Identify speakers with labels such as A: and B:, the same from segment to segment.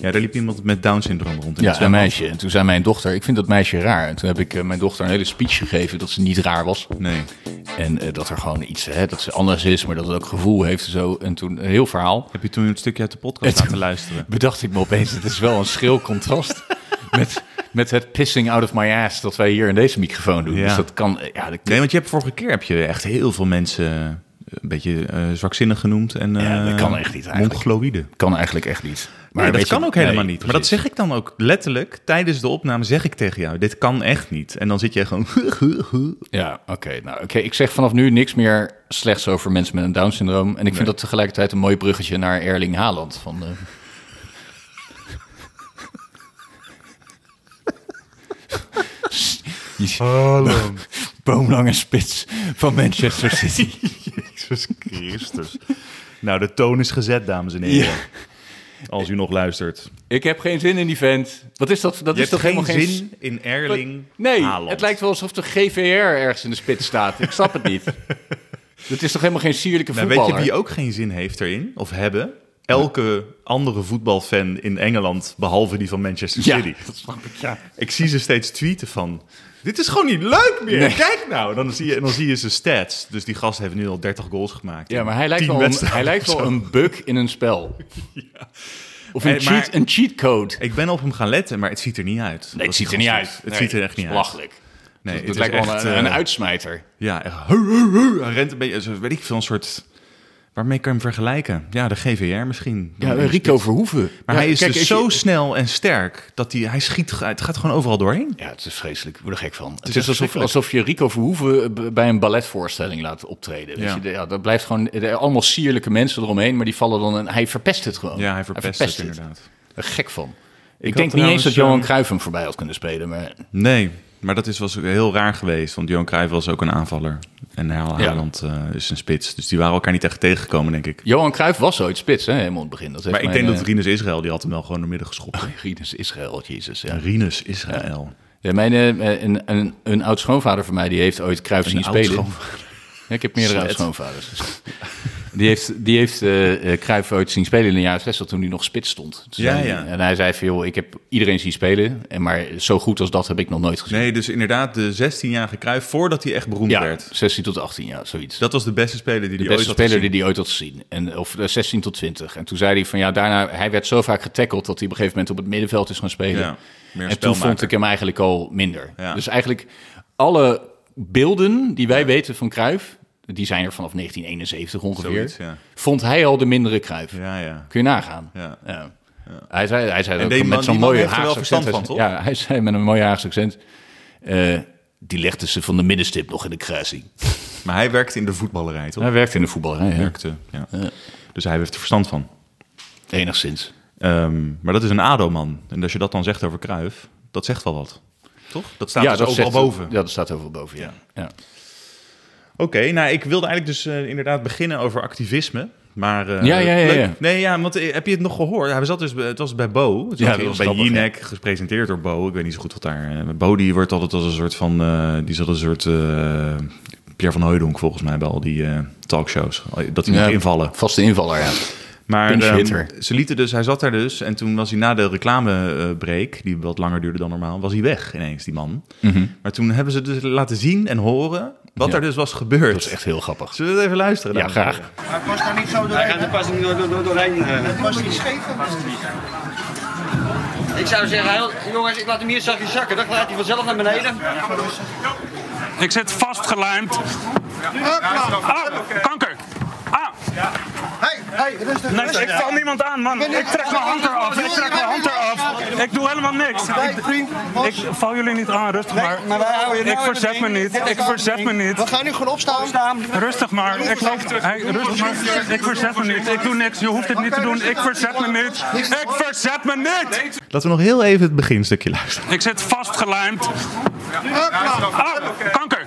A: Ja, daar liep iemand met Down-syndroom rond. in het
B: Ja, een
A: zwembad.
B: meisje. En toen zei mijn dochter, ik vind dat meisje raar. En toen heb ik eh, mijn dochter een hele speech gegeven dat ze niet raar was.
A: Nee.
B: En eh, dat er gewoon iets, hè, dat ze anders is, maar dat het ook gevoel heeft en zo. En toen een heel verhaal.
A: Heb je toen een stukje uit de podcast
B: Het-
A: laten luisteren?
B: Bedacht ik me opeens, het is wel een schril contrast met, met het pissing out of my ass dat wij hier in deze microfoon doen.
A: Ja.
B: Dus dat kan, eh, ja, dat,
A: Nee, want je hebt vorige keer heb je echt heel veel mensen een beetje eh, zwakzinnig genoemd. En,
B: Ja, dat
A: eh,
B: kan echt niet eigenlijk.
A: Mongoloïde.
B: kan eigenlijk echt niet.
A: Maar
B: weet
A: dat
B: je-
A: kan ook
B: nee,
A: helemaal niet. Maar dat
B: precies.
A: zeg ik dan ook letterlijk tijdens de opname zeg ik tegen jou. Dit kan echt niet. En dan zit jij gewoon.
B: Ja, oké. nou, oké. Ik zeg vanaf nu niks meer slechts over mensen met een Down-syndroom. En ik vind dat tegelijkertijd een mooi bruggetje naar Erling Haaland. Van, eh, boomlange spits van Manchester City.
A: Jezus Christus. nou, de toon is gezet, dames en heren. Als u nog luistert.
B: ik heb geen zin in die vent. Wat is dat? Dat
A: Je hebt
B: is toch
A: geen
B: helemaal geen
A: zin in Erling
B: Nee,
A: Haaland.
B: het lijkt wel alsof de GVR ergens in de spits staat. Ik snap het niet. Dat is toch helemaal geen sierlijke
A: Nou,
B: voetballer?
A: weet je wie ook geen zin heeft erin? Of hebben? Elke andere voetbalfan in Engeland, behalve die van Manchester
B: ja,
A: City.
B: dat snap ik, ja.
A: Ik zie ze steeds tweeten van... Dit is gewoon niet leuk meer.
B: Nee.
A: Kijk nou. En dan, zie je, en dan zie je zijn stats. Dus die gast heeft nu al 30 goals gemaakt.
B: Ja,
A: in
B: maar hij lijkt
A: 10
B: wel, een,
A: wedstrijden
B: hij lijkt
A: of
B: wel
A: zo.
B: een bug in een spel. Of een,
A: Hey, maar-
B: cheat, een cheatcode.
A: Ik ben op hem gaan letten, maar het ziet er niet uit.
B: Nee,
A: Wat
B: het ziet er
A: die
B: niet
A: gast
B: uit.
A: doet. Het ziet er echt niet uit.
B: Belachelijk.
A: Nee, het
B: het
A: is
B: lijkt wel
A: echt,
B: een, een
A: eh,
B: uitsmijter.
A: Ja, echt. Hu, hu, hu. Hij rent een beetje... zo, Weet ik veel, een soort... Waarmee kan je hem vergelijken? Ja, de GVR misschien. Dan
B: Ja,
A: in de
B: Rico Verhoeven.
A: Maar
B: Ja,
A: hij is
B: kijk,
A: dus
B: als
A: zo
B: je-
A: snel en sterk dat hij, hij schiet, het gaat gewoon overal doorheen.
B: Ja, het is vreselijk. Ik word er gek van. Het
A: echt
B: is, alsof,
A: verschrikkelijk.
B: alsof je Rico Verhoeven b- bij een balletvoorstelling laat optreden. Weet
A: Ja.
B: je? De- Ja, dat blijft gewoon er- allemaal sierlijke mensen eromheen, maar die vallen dan... En hij verpest het gewoon.
A: Ja, hij verpest, het inderdaad.
B: Ik ben er gek van. Ik,
A: had
B: denk niet eens
A: trouwens,
B: dat Johan
A: eh,
B: Cruijff hem voorbij had kunnen spelen, maar...
A: Nee, maar dat is, was ook heel raar geweest, want Johan Cruijff was ook een aanvaller. En Haal
B: Ja.
A: Haaland eh, is een spits, dus die waren elkaar niet echt tegengekomen, denk ik.
B: Johan Cruijff was ooit spits, hè, helemaal in het begin. Dat heeft
A: Maar ik
B: mijn,
A: denk dat
B: eh,
A: Rinus Israël, die had hem wel gewoon door midden geschopt.
B: Rieders Israël, jezus, ja.
A: Rinus Israël.
B: Ja, mijn, eh, een, een, een oud schoonvader van mij die heeft ooit Cruijff zien
A: Een oud
B: spelen.
A: schoonvader.
B: Ja, ik heb meerdere
A: Slet.
B: oud schoonvaders. Die heeft, die heeft eh eh, Cruijff ooit zien spelen in de jaren 60 toen hij nog spits stond. Toen
A: Ja,
B: zei-
A: ja.
B: En hij zei van, joh, ik heb iedereen zien spelen, en maar zo goed als dat heb ik nog nooit gezien.
A: Nee, dus inderdaad de 16-jarige Cruijff, voordat hij echt beroemd
B: ja,
A: werd.
B: 16 tot 18 jaar, zoiets.
A: Dat was de beste speler die
B: de
A: hij ooit
B: beste
A: had
B: speler die
A: gezien.
B: hij ooit had gezien. En, of eh, 16 tot 20. En toen zei hij van ja, daarna, hij werd zo vaak getackeld dat hij op een gegeven moment op het middenveld is gaan spelen.
A: Ja, meer
B: en toen
A: spelmaker.
B: vond ik hem eigenlijk al minder.
A: Ja.
B: Dus eigenlijk alle beelden die wij weten van Cruijff, die zijn er vanaf 1971 ongeveer,
A: Zoiets, ja.
B: vond hij al de mindere Cruijff.
A: Ja, ja.
B: Kun je nagaan.
A: Ja.
B: Hij zei, hij zei ook
A: die man-
B: met zo'n
A: die man
B: mooie
A: heeft er wel
B: Haagse accent.
A: verstand
B: hij
A: van,
B: zei- Ja, hij zei met een mooie Haagse accent. eh, die legde ze van de middenstip nog in de kruising.
A: Maar hij werkte in de voetballerij, toch?
B: Hij werkte in de voetballerij, hè?
A: werkte, ja. Dus hij heeft er verstand van.
B: enigszins.
A: Ehm, maar dat is een ADO-man. En als je dat dan zegt over Kruif, dat zegt wel wat. Toch? Dat staat dus overal
B: zegt-
A: boven.
B: Ja, dat staat overal boven, ja. ja.
A: Oké, nou, ik wilde eigenlijk dus eh, inderdaad beginnen over activisme. Maar, eh,
B: Ja, ja, ja,
A: leuk.
B: ja.
A: Nee, ja, want eh, heb je het nog gehoord? Hij zat dus, bij- het was bij Bo. Het
B: Ja,
A: was
B: dat was
A: bij
B: grappig,
A: Jinek, gepresenteerd door Bo. Ik weet niet zo goed wat daar... eh, Bo, die wordt altijd als een soort van... eh, die zat een soort... eh, Pierre van Hooijdonk volgens mij bij al die eh, talkshows. Dat hij moet invallen.
B: Vaste invaller, ja.
A: Maar
B: Pinch
A: ehm,
B: hitter.
A: ze lieten dus, hij zat daar dus en toen was hij na de reclamebreak, die wat langer duurde dan normaal, was hij weg ineens, die man. Maar toen hebben ze dus laten zien en horen wat
B: Mhm. Ja.
A: er dus was gebeurd.
B: Dat is echt heel grappig.
A: Zullen we dat even luisteren?
B: Ja,
A: dames en
B: graag.
A: heren?
C: Hij past daar niet zo
D: Hij
C: doorheen.
D: gaat er pas niet door, door, door- doorheen. eh.
C: Hij past niet scheef. Past niet.
D: Ik zou zeggen, heel- jongens, ik laat hem hier zachtjes zakken. Dan gaat hij vanzelf naar beneden.
E: Ik zit vastgelijmd. Ah, kanker. Ah,
C: Hey, hey, rustig.
E: nee,
C: rustig.
E: ik val niemand aan, man. Ik trek mijn hand eraf. Ik trek mijn hand eraf. Ik doe helemaal niks.
C: Wij,
E: Ik,
C: vriend,
E: ik
C: Bas.
E: val jullie niet aan, rustig maar.
D: maar wij houden je nou
E: Ik
D: in de
E: verzet me
D: ring.
E: niet. Ik verzet me
C: we
E: niet.
C: gaan nu gewoon opstaan.
D: Staan.
E: Rustig maar. Ik loop terug. Hey, rustig maar. Ik verzet me niet. Ik doe niks. Je hoeft dit niet te doen. Ik verzet me niet. Ik verzet me niet.
A: Laten we nog heel even het beginstukje luisteren.
E: Ik zit vastgelijmd. Ah, kanker.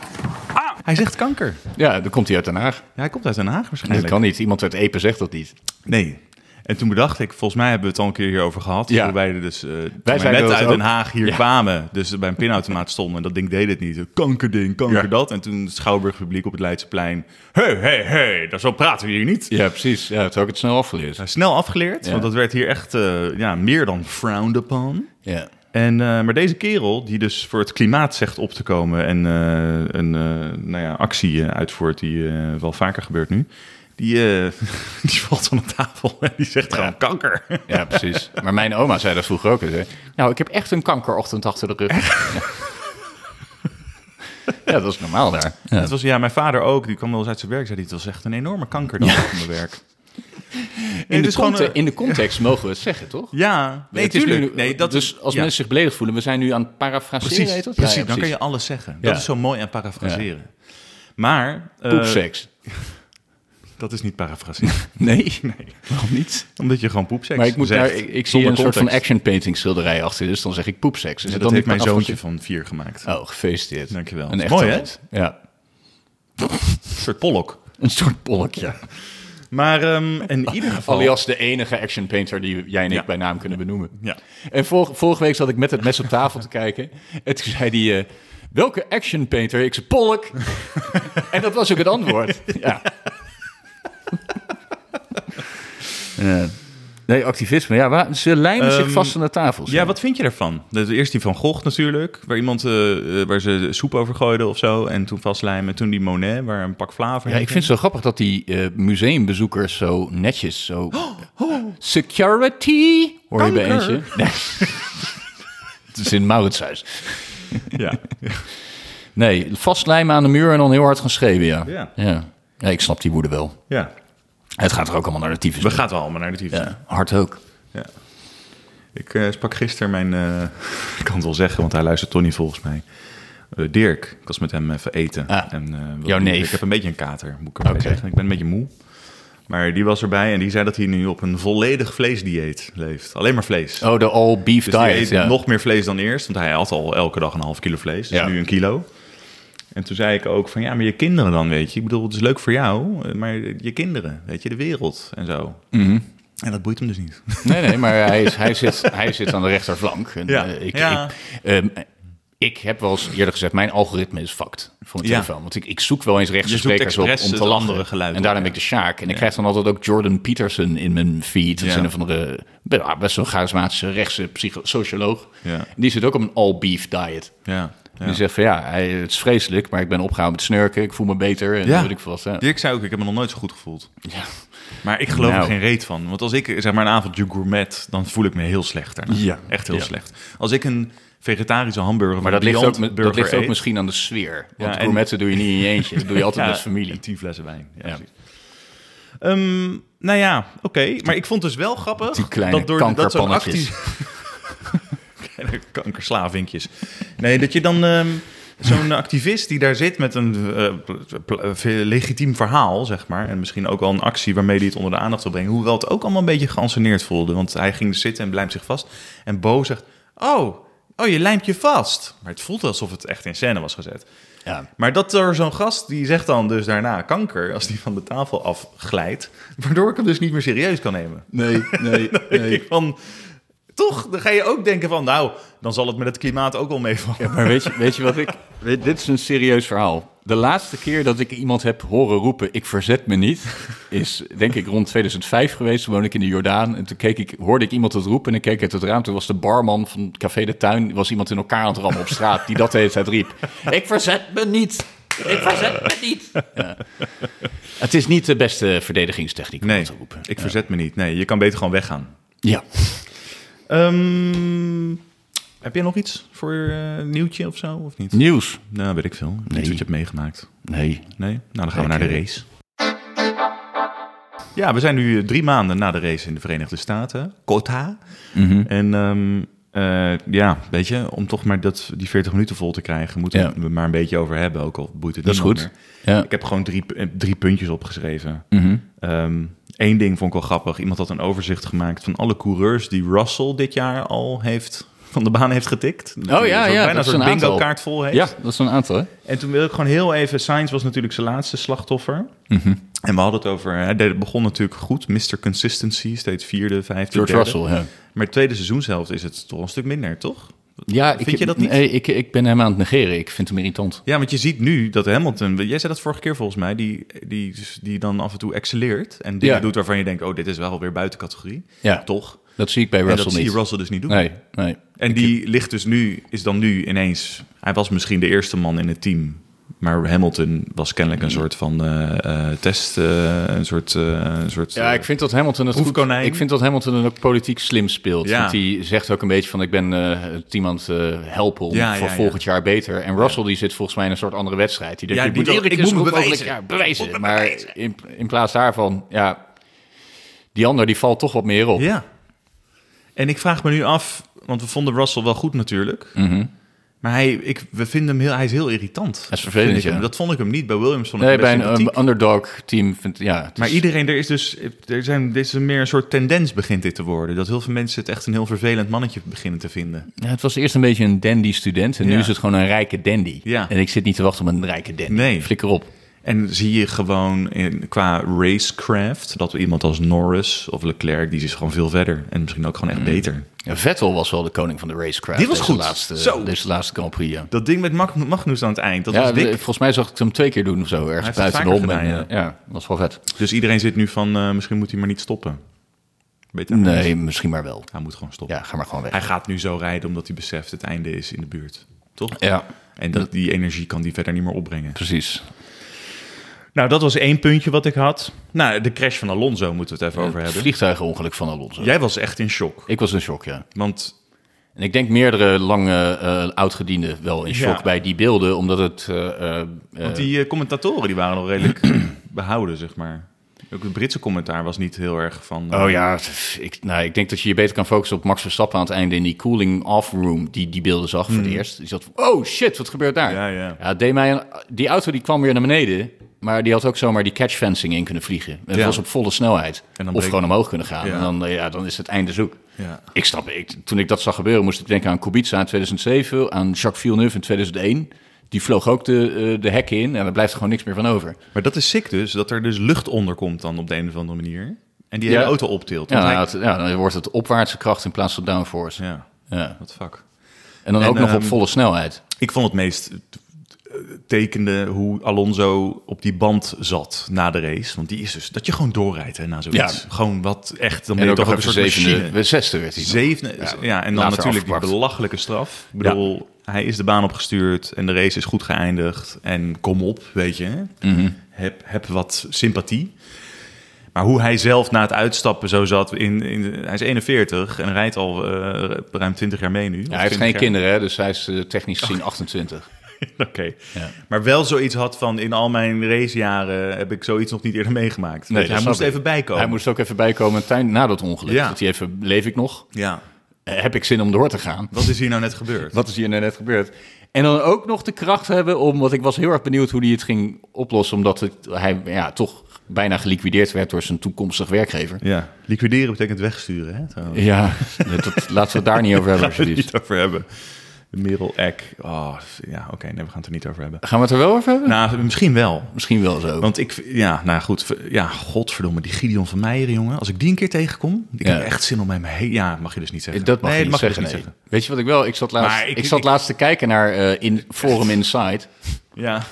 E: Ah,
A: Hij zegt kanker.
B: Ja, dan komt hij uit Den Haag.
A: Ja, hij komt uit Den Haag
B: Dat
A: waarschijnlijk.
B: kan niet. Iemand uit Epe zegt dat niet.
A: Nee. En toen bedacht ik, volgens mij hebben we het al een keer hierover gehad.
B: Ja.
A: Toen wij er dus eh, toen wij
B: zeiden
A: net
B: dat
A: uit
B: ook.
A: Den Haag hier
B: Ja.
A: kwamen. Dus bij een pinautomaat stonden. En dat ding deed het niet. Kankerding, kanker dat. En toen het Schouwburg publiek op het Leidseplein. Hé, hé, hé, daar zo praten we hier niet.
B: Ja, precies. Ja, dat heb ik het snel afgeleerd.
A: Snel afgeleerd,
B: Ja.
A: want dat werd hier echt eh, ja, meer dan frowned upon.
B: Ja.
A: En, eh, maar deze kerel, die dus voor het klimaat zegt op te komen en eh, een eh, nou ja, actie eh, uitvoert, die eh, wel vaker gebeurt nu, die, eh, die valt van de tafel en die zegt gewoon kanker.
B: ja, precies. Maar mijn oma zei dat vroeger ook. Ze Zei, nou, ik heb echt een kankerochtend achter de rug. Ja, ja dat is normaal daar. Ja.
A: Het was, ja, mijn vader ook, die kwam wel eens uit zijn werk, zei die, het was echt een enorme kanker dan op mijn werk.
B: In,
A: het
B: de
A: is gewoon
B: conte-
A: een-
B: in de context mogen we het zeggen, toch?
A: Ja, nee,
B: Het is nu-
A: tuurlijk. Nee, dat
B: dus als
A: ja,
B: mensen zich beledigd voelen, we zijn nu aan het parafraseren.
A: Precies,
B: heet dat?
A: precies,
B: Ja, ja,
A: dan kun je alles zeggen.
B: Ja.
A: Dat is zo mooi aan parafraseren. Maar... eh,
B: Poepseks.
A: Dat is niet parafraseren.
B: Nee? nee, waarom niet?
A: Omdat je gewoon poepseks
B: Maar ik, moet
A: zegt,
B: daar, ik, ik zie een
A: zonder
B: soort van
A: context.
B: action painting schilderij achter, dus dan zeg ik poepseks.
A: Ja,
B: Is het
A: dat
B: dan
A: heeft
B: niet
A: mijn zoontje
B: parafraseren?
A: van vier gemaakt.
B: Oh, gefeliciteerd.
A: Dankjewel.
B: Een
A: Is
B: echt
A: mooi, hè?
B: talent. Ja,
A: Een soort pollock.
B: een soort polkje.
A: Maar ehm, in ieder geval...
B: Alias de enige action painter die jij en ik
A: Ja.
B: bij naam kunnen benoemen.
A: Ja.
B: En vor- vorige week zat ik met het mes op tafel te kijken. En toen zei hij, eh, welke action painter? Ik zei, Polk. en dat was ook het antwoord. Ja. Eh, nee, activisme. Ja, waar, ze lijmen zich
A: Ehm,
B: vast aan de tafel.
A: Ja, wat vind je daarvan? De, de eerste die van Gogh natuurlijk, waar iemand eh, eh, waar ze soep over gooiden of zo en toen vastlijmen. Toen die Monet, waar een pak flaver
B: Ja,
A: heen
B: ik vind het zo grappig dat die eh, museumbezoekers zo netjes zo... Security, hoor je bij
A: Oh. Kanker.
B: eentje. Nee. het is in Mauritshuis.
A: ging. Ja.
B: Nee, vastlijmen aan de muur en dan heel hard gaan schreeuwen, ja.
A: Ja.
B: ja. Ja, ik snap die woede wel.
A: ja.
B: Het gaat er ook allemaal naar de tyfus.
A: We gaan wel allemaal naar de tyfus.
B: Ja, hard ook.
A: Ja. Ik eh, sprak gisteren mijn, eh, ik kan het wel zeggen, want hij luistert toch niet volgens mij. Eh, Dirk, ik was met hem even eten.
B: Ah,
A: en, eh, wat
B: jouw
A: doe ik?
B: neef.
A: Ik heb een beetje een kater, moet ik erbij
B: Oké.
A: zeggen. Ik ben een beetje moe. Maar die was erbij en die zei dat hij nu op een volledig vleesdieet leeft. Alleen maar vlees.
B: Oh, de all beef
A: dus die
B: diet.
A: eet
B: Ja.
A: nog meer vlees dan eerst, want hij had al elke dag een half kilo vlees. Dus
B: Ja.
A: nu een kilo. En toen zei ik ook van, ja, maar je kinderen dan, weet je. Ik bedoel, het is leuk voor jou, eh, maar je kinderen, weet je, de wereld en zo.
B: Mhm.
A: En dat boeit hem dus niet.
B: Nee, nee, maar hij, is, hij, zit, hij zit aan de rechterflank. En,
A: Ja.
B: eh, ik,
A: Ja.
B: Ik, ehm, ik heb wel eens eerder gezegd, mijn algoritme is fucked van mijn
A: Ja.
B: telefoon. Want ik, ik zoek wel eens rechtse
A: Je zoekt
B: sprekers op
A: expres
B: om te
A: het
B: lachen.
A: andere geluid
B: en daarna
A: op,
B: ben ik de Sjaak. En ik krijg dan altijd ook Jordan Peterson in mijn feed. Dat is
A: Ja.
B: een of andere ja, best wel charismatische rechtse psycho- socioloog.
A: Ja.
B: Die zit ook op een all-beef diet.
A: Ja, ja.
B: Die zegt van ja, hij, het is vreselijk, maar ik ben opgehouden met snurken. Ik voel me beter en
A: Ja.
B: weet ik veel wat. hè.
A: Dirk zei ook, ik heb me nog nooit zo goed gevoeld. Maar ik geloof
B: Nou.
A: er geen reet van. Want als ik zeg maar een avondje gourmet, dan voel ik me heel slecht daarna.
B: Ja.
A: Echt heel
B: Ja.
A: slecht. Als ik een vegetarische hamburger
B: Maar dat ligt, ook, met- dat ligt ook
A: misschien
B: misschien aan de sfeer. Want
A: Ja, en-
B: gourmetten doe je niet in je eentje. Dat doe je altijd met familie.
A: En tien flessen wijn. Ja,
B: Ja.
A: precies. Ehm, nou ja, oké. Maar ik vond dus wel grappig...
B: Die kleine
A: dat door dat zo'n
B: kankerpannetjes.
A: actie- kleine kankerslavinkjes. Nee, dat je dan... ehm, Zo'n activist die daar zit met een eh, pl- pl- eh, legitiem verhaal, zeg maar. En misschien ook wel een actie waarmee hij het onder de aandacht wil brengen. Hoewel het ook allemaal een beetje geanceneerd voelde. Want hij ging zitten en lijmt zich vast. En Bo zegt, oh, oh, je lijmt je vast. Maar het voelt alsof het echt in scène was gezet.
B: Ja.
A: Maar dat er zo'n gast, die zegt dan dus daarna kanker... als die van de tafel afglijdt... waardoor ik hem dus niet meer serieus kan nemen.
B: Nee, nee,
A: Dan denk ik van... Toch, dan ga je ook denken van... nou, dan zal het met het klimaat ook wel meevallen.
B: Maar weet je, weet je wat ik... weet- dit is een serieus verhaal. De laatste keer dat ik iemand heb horen roepen, ik verzet me niet, is denk ik rond 2005 geweest. Toen woonde ik in de Jordaan en toen keek ik, hoorde ik iemand het roepen en ik keek uit het raam. Toen was de barman van Café de Tuin, was iemand in elkaar aan het rammen op straat die dat de hele tijd riep. Ik verzet me niet! Ik verzet me niet! Ja. Het is niet de beste verdedigingstechniek om
A: Nee,
B: dat te roepen.
A: ik verzet me niet. Nee, je kan beter gewoon weggaan.
B: Ja.
A: Ehm, heb je nog iets voor eh, een nieuwtje of zo, of niet?
B: Nieuws.
A: Nou, weet ik veel. Iets wat je hebt meegemaakt.
B: Nee.
A: Nee? Nou, dan gaan we
B: Oké.
A: naar de race. Ja, we zijn nu eh, drie maanden na de race in de Verenigde Staten. Kota.
B: Mhm.
A: En ehm, eh, ja, weet je, om toch maar dat, die 40 minuten vol te krijgen... moeten
B: Ja.
A: we het maar een beetje over hebben, ook al boeit het
B: Dat is
A: niemand
B: goed.
A: meer.
B: Ja. Mhm.
A: Ik heb gewoon drie, pu- eh, drie puntjes opgeschreven. Ehm, Eén ding vond ik wel grappig. Iemand had een overzicht gemaakt van alle coureurs die Russell dit jaar al heeft van de baan heeft getikt. Oh
B: ja, ja,
A: Bijna
B: dat
A: een
B: is
A: soort
B: een aantal.
A: bingo kaart vol heeft.
B: Ja, dat is een aantal, hè?
A: En toen wil ik gewoon heel even... Sainz was natuurlijk zijn laatste slachtoffer.
B: Mhm.
A: En we hadden het over... Hij deed- begon natuurlijk goed. Mr. Consistency, steeds vierde, vijfde,
B: George
A: derde.
B: Russell, ja.
A: Maar het tweede seizoenshelft is het toch een stuk minder, toch?
B: ja
A: Vind
B: ik,
A: je dat niet?
B: Nee, ik, ik ben hem aan het negeren. Ik vind hem irritant.
A: Ja, want je ziet nu dat Hamilton... Jij zei dat vorige keer volgens mij. Die, die, die dan af en toe excelleert. En dingen
B: Ja.
A: doet waarvan je denkt... Oh, dit is wel weer buiten categorie.
B: Ja.
A: Toch?
B: Dat zie ik bij Russell
A: en dat
B: niet.
A: zie je Russell dus niet doen.
B: Nee, nee.
A: En die ligt dus nu, is dan nu ineens. Hij was misschien de eerste man in het team. Maar Hamilton was kennelijk een soort van eh, eh, test. eh, een soort. eh, een soort
B: Ja, ik vind dat Hamilton het goed,
A: Proefkonijn.
B: Ik vind dat Hamilton het ook politiek slim speelt.
A: Ja.
B: Want die zegt ook een beetje van ik ben eh, het team aan het eh, helpen om
A: Ja,
B: voor
A: ja, ja.
B: volgend jaar beter. En Russell die zit volgens mij in een soort andere wedstrijd. Die denkt,
A: Ja,
B: ik
A: die
B: moet dus
A: wil-
B: iedere
A: ik
B: keer
A: moet
B: zo
A: me
B: goed mogelijk
A: bewijzen.
B: ja, bewijzen. maar in, in plaats daarvan, ja, die ander die valt toch wat meer op.
A: Ja. En ik vraag me nu af, want we vonden Russell wel goed natuurlijk. Maar hij, ik, we vinden hem heel, hij is heel irritant.
B: Hij Mhm. is vervelend,
A: Vind ik hem.
B: ja.
A: Dat vond ik hem niet. Bij Williams vond ik
B: Nee,
A: hem
B: bij
A: best
B: een
A: sympathiek.
B: eh, underdog team vindt ja. het
A: maar
B: is-
A: iedereen, er is dus er zijn, dit is meer een soort tendens begint dit te worden. Dat heel veel mensen het echt een heel vervelend mannetje beginnen te vinden.
B: ja, het was eerst een beetje een dandy student en
A: Ja.
B: nu is het gewoon een rijke dandy.
A: Ja.
B: En ik zit niet te wachten op een rijke dandy.
A: Nee.
B: Flikker op.
A: En zie je gewoon in, qua racecraft dat iemand als Norris of Leclerc, die is gewoon veel verder. En misschien ook
B: Mm.
A: gewoon echt beter.
B: Ja, Vettel was wel de koning van de racecraft.
A: Die was
B: deze
A: goed.
B: Laatste,
A: Zo.
B: Deze laatste Grand Prix, ja.
A: Dat ding met Mag- Magnus aan het eind, dat
B: Ja,
A: was dik.
B: volgens mij zag ik hem twee keer doen of zo. Ergens
A: heeft
B: buiten de
A: het
B: hom.
A: vaker
B: en,
A: gedaan,
B: eh, ja, dat was wel vet.
A: Dus iedereen zit nu van, eh, misschien moet hij maar niet stoppen. Beter
B: Nee, misschien maar wel.
A: Hij moet gewoon stoppen.
B: Ja, ga maar gewoon weg.
A: Hij gaat nu zo rijden omdat hij beseft het einde is in de buurt. Toch?
B: Ja,
A: En dat, die energie kan die verder niet meer opbrengen.
B: precies.
A: Nou, dat was één puntje wat ik had. Nou, de crash van Alonso moeten we het even over
B: Het
A: hebben.
B: vliegtuigenongeluk van Alonso.
A: Jij was echt in shock.
B: Ik was in shock, ja.
A: Want
B: En ik denk meerdere lange eh oudgedienden wel in shock
A: Ja.
B: bij die beelden, omdat het... eh, eh, eh,
A: Die eh, commentatoren die waren nog redelijk behouden, zeg maar. Ook het Britse commentaar was niet heel erg van... eh,
B: Oh ja, pff, ik, nou, ik denk dat je je beter kan focussen op Max Verstappen aan het einde in die cooling off room die die beelden zag voor het eerst. Die zat van, oh shit, wat gebeurt daar?
A: Hmm. Ja, ja.
B: het deed mij een- die auto die kwam weer naar beneden, maar die had ook zomaar die catch fencing in kunnen vliegen. Het
A: Ja.
B: was op volle snelheid.
A: dan
B: of
A: breekt-
B: gewoon omhoog kunnen gaan.
A: Ja.
B: En dan, eh, ja, dan is het einde zoek.
A: Ja.
B: Ik snap, ik, toen ik dat zag gebeuren moest ik denken aan Kubica in 2007, aan Jacques Villeneuve in 2001. Die vloog ook de, eh, de hekken in en daar blijft er gewoon niks meer van over.
A: Maar dat is sick dus, dat er dus lucht onder komt dan op de een of andere manier. En die hele
B: Ja.
A: auto optilt.
B: Ja,
A: Want hij-
B: nou, het- ja, dan wordt het opwaartse kracht in plaats van downforce.
A: ja,
B: Ja.
A: wat fuck.
B: En dan
A: En,
B: ook nog op
A: ehm,
B: volle snelheid.
A: Ik vond het meest eh, tekende hoe Alonso op die band zat na de race. Want die is dus, dat je gewoon doorrijdt hè, na zoiets.
B: Ja.
A: Gewoon wat echt, dan ben je toch ook een soort machine.
B: zevende, zesde werd hij.
A: Zevende, ja,
B: Ja,
A: en dan
B: later
A: natuurlijk die
B: afgepakt.
A: belachelijke straf. Ik bedoel, hij is de baan opgestuurd en de race is goed geëindigd. En kom op, weet je. hè.
B: Mhm.
A: Heb, heb wat sympathie. Maar hoe hij zelf na het uitstappen zo zat. In, in, hij is 41 en rijdt al eh, ruim 20 jaar mee nu.
B: Ja,
A: Of
B: hij heeft
A: 20
B: geen
A: jaar.
B: kinderen, hè, dus hij is eh, technisch gezien 28.
A: Oké. Maar wel zoiets had van in al mijn racejaren heb ik zoiets nog niet eerder meegemaakt.
B: Nee,
A: Weet je,
B: dat
A: hij
B: snap
A: moest
B: ik.
A: even bijkomen.
B: Hij moest ook even bijkomen tijn, na dat ongeluk.
A: Ja.
B: Dat hij even, leef ik nog?
A: Ja.
B: Eh, heb ik zin om door te gaan?
A: Wat is hier nou net gebeurd?
B: Wat is hier nou net gebeurd? En dan ook nog de kracht hebben om, want ik was heel erg benieuwd hoe hij het ging oplossen, omdat het, hij ja, toch bijna geliquideerd werd door zijn toekomstig werkgever.
A: Ja, liquideren betekent wegsturen. Hè? trouwens.
B: Ja, dat, laten we het daar niet over hebben,
A: Gaan we het
B: alsjeblieft.
A: niet over hebben. Merel Eck. Oh, ja, oké. nee, we gaan het er niet over hebben.
B: Gaan we het er wel over hebben?
A: Nou, misschien wel.
B: Misschien wel zo.
A: Want ik, ja, nou goed. Ja, godverdomme, die Gideon van Meijeren, jongen. Als ik die een keer tegenkom, ik
B: Ja.
A: heb echt zin om hem heen. Ja, mag je dus niet zeggen.
B: Dat mag
A: nee,
B: je niet
A: dat
B: zeggen.
A: mag je
B: nee.
A: dus
B: Weet je wat ik wel? Ik zat laatst,
A: Maar ik-
B: ik, zat
A: ik-
B: laatst te kijken naar eh, in Forum Inside.
A: niet zeggen.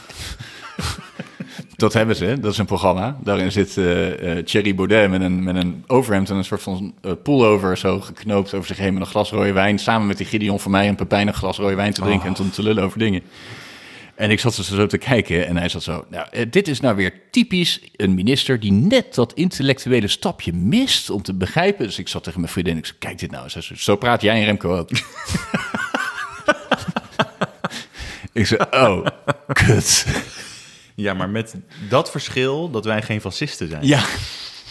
B: Dat hebben ze, dat is een programma. Daarin zit eh, eh, Thierry Baudet met een, met een overhemd en een soort van eh, pullover zo geknoopt over zich heen met een glas rode wijn. Samen met die Gideon van mij en Pepijn een glas rode wijn te drinken en toen te lullen over dingen. En ik zat dus zo te kijken en hij zat zo. Nou, eh, dit is nou weer typisch een minister die net dat intellectuele stapje mist om te begrijpen. Dus ik zat tegen mijn vriendin en ik zei, kijk dit nou. eens." Zij zei, zo praat jij en Remco ook. ik zei, oh, kut.
A: Ja. ja, maar met dat verschil dat wij geen fascisten zijn.
B: Ja.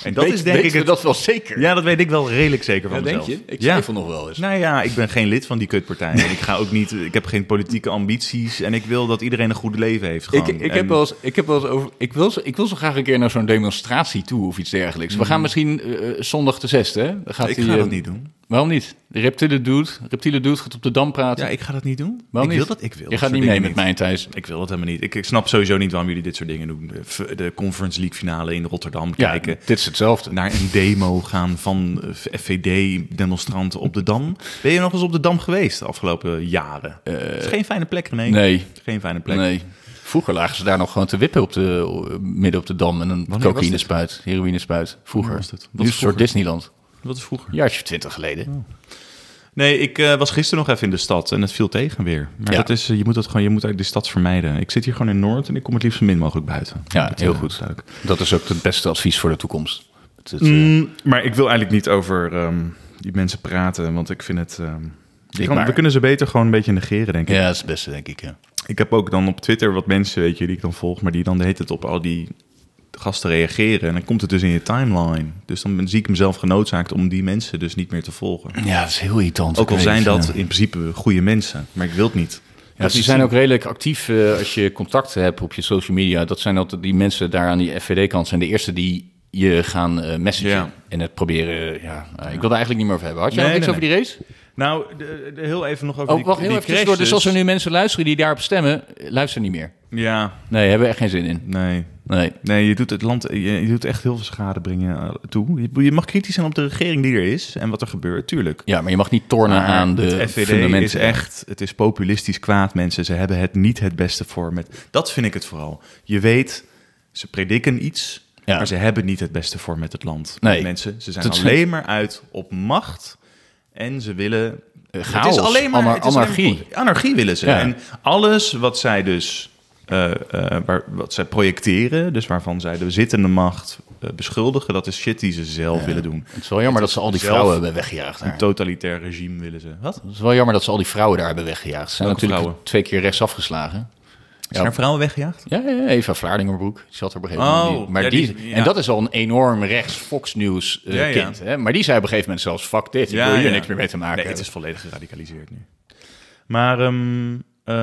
A: en dat
B: Weet-
A: is denk
B: weten
A: ik
B: we
A: het
B: dat wel zeker.
A: Ja, dat weet ik wel redelijk zeker van
B: Ja, denk
A: mezelf.
B: je? Ik
A: ja.
B: twijfel nog wel eens.
A: Nou ja, ik ben geen lid van die kutpartij. En ik ga ook niet. Ik heb geen politieke ambities. En ik wil dat iedereen een goed leven heeft.
B: Ik,
A: Gewoon.
B: ik,
A: En-
B: heb wel eens, ik heb wel eens over. Ik wil, zo- ik wil zo graag een keer naar zo'n demonstratie toe of iets dergelijks. We gaan misschien eh, zondag de zesde. Hè? Dan Gaat
A: Mm. Ik
B: die,
A: ga
B: eh,
A: dat niet doen.
B: Waarom niet? De reptiele dude, reptiele dude gaat op de dam praten.
A: Ja, ik ga dat niet doen.
B: Waarom
A: ik
B: niet?
A: wil dat. Ik wil
B: Je
A: dat
B: gaat
A: soort
B: niet mee
A: dingen
B: met mij, Thijs.
A: Ik wil dat helemaal niet. Ik, ik snap sowieso niet waarom jullie dit soort dingen doen. De, f- de Conference League finale in Rotterdam kijken.
B: dit is hetzelfde.
A: Naar een demo gaan van eh, FVD-demonstranten op de Dam. Ben je nog eens op de Dam geweest de afgelopen jaren? het is geen fijne plek, René.
B: Eh, nee.
A: Het is geen fijne plek.
B: Nee. Vroeger lagen ze daar nog gewoon te wippen op de, midden op de dam en een
A: was
B: cocaïne spuit, heroïne spuit. Vroeger.
A: was dit? Wat
B: Nu is het een soort
A: vroeger? Oh.
B: Disneyland.
A: Wat is vroeger?
B: Een jaartje twintig geleden.
A: Nee, ik eh, was gisteren nog even in de stad en het viel tegen weer. Maar
B: Ja.
A: dat is, eh, je moet dat gewoon, je moet uit de stad vermijden. Ik zit hier gewoon in Noord en ik kom het liefst zo min mogelijk buiten.
B: Ja,
A: Dat,
B: heel
A: eh,
B: goed.
A: duidelijk.
B: Dat is ook het beste advies voor de toekomst. Het, het, eh,
A: Mm, maar ik wil eigenlijk niet over ehm, die mensen praten, want ik vind het. ehm, je kan-
B: maar.
A: we kunnen ze beter gewoon een beetje negeren, denk ik.
B: ja, dat is het beste, denk ik. Ja.
A: Ik heb ook dan op Twitter wat mensen, weet je, die ik dan volg, maar die dan de hele tijd op al die gasten reageren. En dan komt het dus in je timeline. Dus dan zie ik mezelf genoodzaakt om die mensen dus niet meer te volgen.
B: ja, dat is heel irritant.
A: Ook al
B: Ik weet
A: zijn
B: het,
A: dat
B: ja.
A: in principe goede mensen, maar ik wil het niet.
B: Ja, ze zijn ook redelijk actief eh, als je contacten hebt op je social media. Dat zijn altijd die mensen daar aan die FVD-kant zijn de eerste die je gaan eh messagen.
A: Ja.
B: En het proberen, eh, ja. eh, ik wil er eigenlijk niet meer over hebben. Had jij
A: Nee,
B: nog niks
A: nee,
B: over die race?
A: Nou, de- de- heel even nog over
B: Oh,
A: die,
B: wacht, heel
A: die
B: even tussendoor.
A: crashes.
B: Dus als er nu mensen luisteren die daarop stemmen, eh, luister niet meer.
A: Ja,
B: Nee, hebben we echt geen zin in.
A: nee.
B: Nee.
A: Nee, je doet het land, je, je doet echt heel veel schade brengen eh, toe. Je, je mag kritisch zijn op de regering die er is en wat er gebeurt, tuurlijk.
B: Ja, maar je mag niet tornen
A: Maar
B: aan de
A: Ah, het FVD
B: fundamenten.
A: is echt, het is populistisch kwaad, mensen. Ze hebben het niet het beste voor met. Dat vind ik het vooral. Je weet, ze prediken iets,
B: Ja.
A: maar ze hebben niet het beste voor met het land.
B: Nee.
A: Mensen, ze zijn
B: Dat-
A: alleen maar uit op macht en ze willen.
B: Eh, chaos,
A: het is alleen maar
B: anar-
A: het is alleen maar-
B: anarchie.
A: anarchie willen ze.
B: Ja.
A: En alles wat zij dus. eh, eh, waar, wat zij projecteren, dus waarvan zij de zittende macht eh, beschuldigen, dat is shit die ze zelf willen doen.
B: Het is wel jammer dat ze al die
A: zelf-
B: vrouwen hebben weggejaagd daar.
A: Een totalitair regime willen ze. Wat?
B: Het is wel jammer dat ze al die vrouwen daar hebben weggejaagd. Ze zijn
A: Welke
B: natuurlijk
A: vrouwen?
B: twee keer rechts afgeslagen.
A: Zijn er vrouwen weggejaagd?
B: Ja, ja, ja, Eva Vlaardingerbroek die zat er op een gegeven
A: Oh,
B: moment. Die- maar
A: ja,
B: die,
A: die- ja.
B: En dat is al een enorm rechts Fox News eh,
A: Ja, ja.
B: kind. Hè? Maar die zei op een gegeven moment zelfs, fuck dit, ik wil hier
A: ja.
B: niks meer mee te maken
A: Nee, het
B: hebben.
A: is volledig geradicaliseerd nu. Maar... ehm, eh,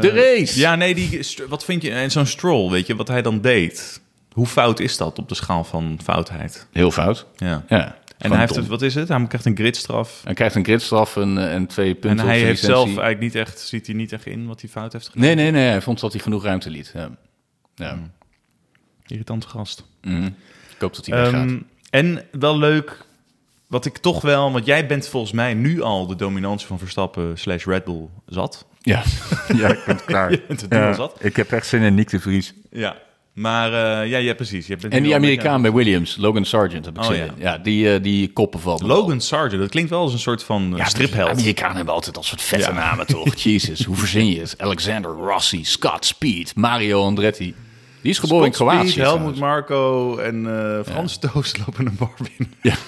B: De race!
A: Ja, nee, die, st- wat vind je... En zo'n stroll, weet je, wat hij dan deed. Hoe fout is dat op de schaal van foutheid?
B: Heel fout.
A: Ja.
B: Ja,
A: en hij heeft, het- wat is het? Hij krijgt een gridstraf.
B: Hij krijgt een gridstraf en, eh, en twee punten
A: En
B: op
A: hij
B: zijn
A: heeft zelf
B: licentie.
A: eigenlijk niet echt, ziet hij niet echt in wat hij fout heeft gedaan.
B: Nee, nee, nee, hij vond dat hij genoeg ruimte liet. Ja. Ja.
A: Hmm. Irritante gast.
B: Ik hoop dat hij weggaat.
A: Ehm, en wel leuk, wat ik toch wel... Want jij bent volgens mij nu al de dominantie van Verstappen slash Red Bull zat.
B: Ja.
F: Ja, ik ben klaar.
A: Je bent het doel zat.
F: Ik heb echt zin in Nick de Vries.
A: Ja. Maar eh, ja, ja, precies. Je bent
B: En
A: nu
B: die
A: al een beetje-
B: Amerikaan bij Williams, Logan Sargent, heb ik
A: Oh,
B: zin
A: ja.
B: in. Ja, die, eh, die koppen van.
A: Logan Sargent, dat klinkt wel als een soort van eh, stripheld.
B: Amerikanen hebben altijd dat soort vette namen, toch? Jezus, hoe verzin je het? Alexander Rossi, Scott Speed, Mario Andretti. Die is geboren in
A: Scott Speed,
B: Kroatië.
A: Helmut
B: trouwens.
A: Marco en eh Frans Toos lopen een bar binnen.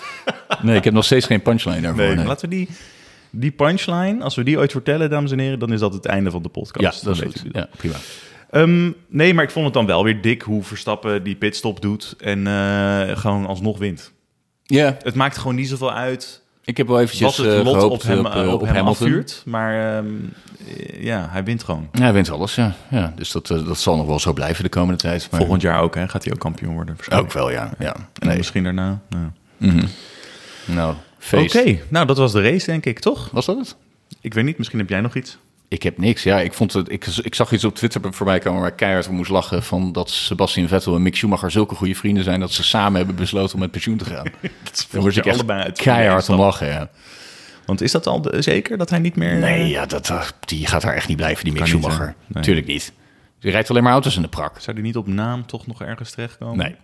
B: Nee, ik heb nog steeds geen punchline daarvoor. Oh, Nee,
A: Laten we die, die punchline, als we die ooit vertellen, dames en heren, dan is dat het einde van de
B: Ja,
A: podcast.
B: dat is
A: Dan
B: goed.
A: weten jullie
B: Ja, prima.
A: Ehm, nee, maar ik vond het dan wel weer dik hoe Verstappen die pitstop doet en eh, gewoon alsnog wint.
B: Ja,
A: Het maakt gewoon niet zoveel uit
B: ik heb wel eventjes
A: wat het
B: eh,
A: lot
B: gehoopt
A: op hem,
B: op, eh,
A: op
B: op
A: hem
B: Hamilton.
A: afvuurt. Maar ehm, eh, ja, hij wint gewoon.
B: Ja, hij wint alles, ja. ja dus dat, eh, dat zal nog wel zo blijven de komende tijd. Maar...
A: Volgend jaar ook, hè? Gaat hij ook kampioen worden? waarschijnlijk.
B: Ook wel, ja. ja.
A: En
B: Nee.
A: misschien daarna. ja.
B: Nou,
A: Oké,
B: feest.
A: nou dat was de race denk ik, toch?
B: Was dat het?
A: Ik weet niet, misschien heb jij nog iets.
B: Ik heb niks. Ja, ik, vond het, ik, ik zag iets op Twitter voorbij komen waar ik keihard om moest lachen. Van dat Sebastian Vettel en Mick Schumacher zulke goede vrienden zijn. dat ze samen hebben besloten om met pensioen te gaan. Daar moest
A: je
B: ik echt
A: allebei uit van de
B: keihard om
A: instap.
B: lachen. Ja.
A: Want is dat al de- zeker dat hij niet meer...
B: Nee,
A: eh,
B: ja, dat, dat- die gaat daar echt niet blijven, die Mick
A: Kan niet,
B: Schumacher.
A: hè? Nee.
B: Tuurlijk niet. Die rijdt alleen maar auto's in de prak.
A: Zou die niet op naam toch nog ergens terechtkomen?
B: Nee.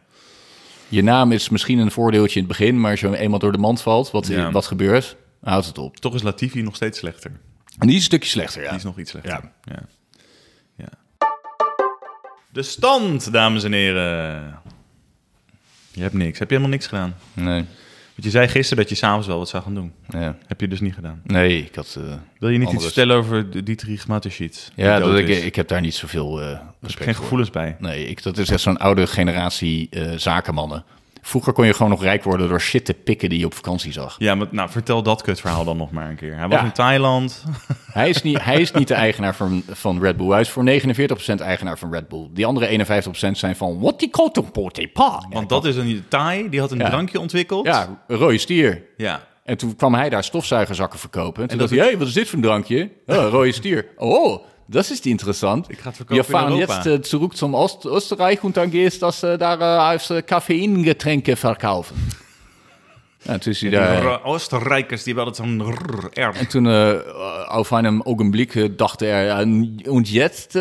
B: Je naam is misschien een voordeeltje in het begin. maar als je eenmaal door de mand valt, wat,
A: Ja.
B: wat gebeurt, houdt het op.
A: Toch is Latifi nog steeds slechter. Die
B: En die is een stukje slechter. Ja.
A: is nog iets slechter.
B: Ja.
A: Ja. Ja. De stand, dames en heren. Je hebt niks. Heb je helemaal niks gedaan?
B: Nee.
A: Want je zei gisteren dat je s'avonds wel wat zou gaan doen.
B: Ja.
A: Heb je dus niet gedaan.
B: Nee, ik had. eh,
A: Wil je niet
B: andere-
A: iets vertellen over de- Dietrich Mateschitz? die
B: Ja,
A: dood
B: dat ik,
A: is?
B: ik heb daar niet zoveel eh respect
A: Geen
B: voor.
A: gevoelens bij.
B: Nee, ik, dat is echt zo'n oude generatie eh, zakenmannen. Vroeger kon je gewoon nog rijk worden door shit te pikken die je op vakantie zag.
A: Ja, maar nou, vertel dat kutverhaal dan nog maar een keer. Hij was
B: Ja.
A: in Thailand.
B: Hij is niet, hij is niet de eigenaar van, van Red Bull. Hij is voor 49% eigenaar van Red Bull. Die andere 51% zijn van what die kotenpote pa.
A: Want dat is een Thai, die had een
B: Ja.
A: drankje ontwikkeld.
B: Ja, rode stier.
A: ja.
B: En toen kwam hij daar stofzuigerzakken verkopen. En toen dacht hij, hé, wat is dit voor een drankje? Oh, rode stier. Oh, dat is interessant. Ik
A: ga het verkopen in
B: fahren
A: Europa.
B: jetzt äh, zurück zum Ost Österreich und dann gehst das äh, da äh, als äh, Kaffeingetränke verkaufen. Ja, toen is hij daar...
A: Die Oostenrijkers die hebben altijd zo'n rrr, R.
B: En toen eh, auf einem Augenblick eh, dachte er, "En- und jetzt äh,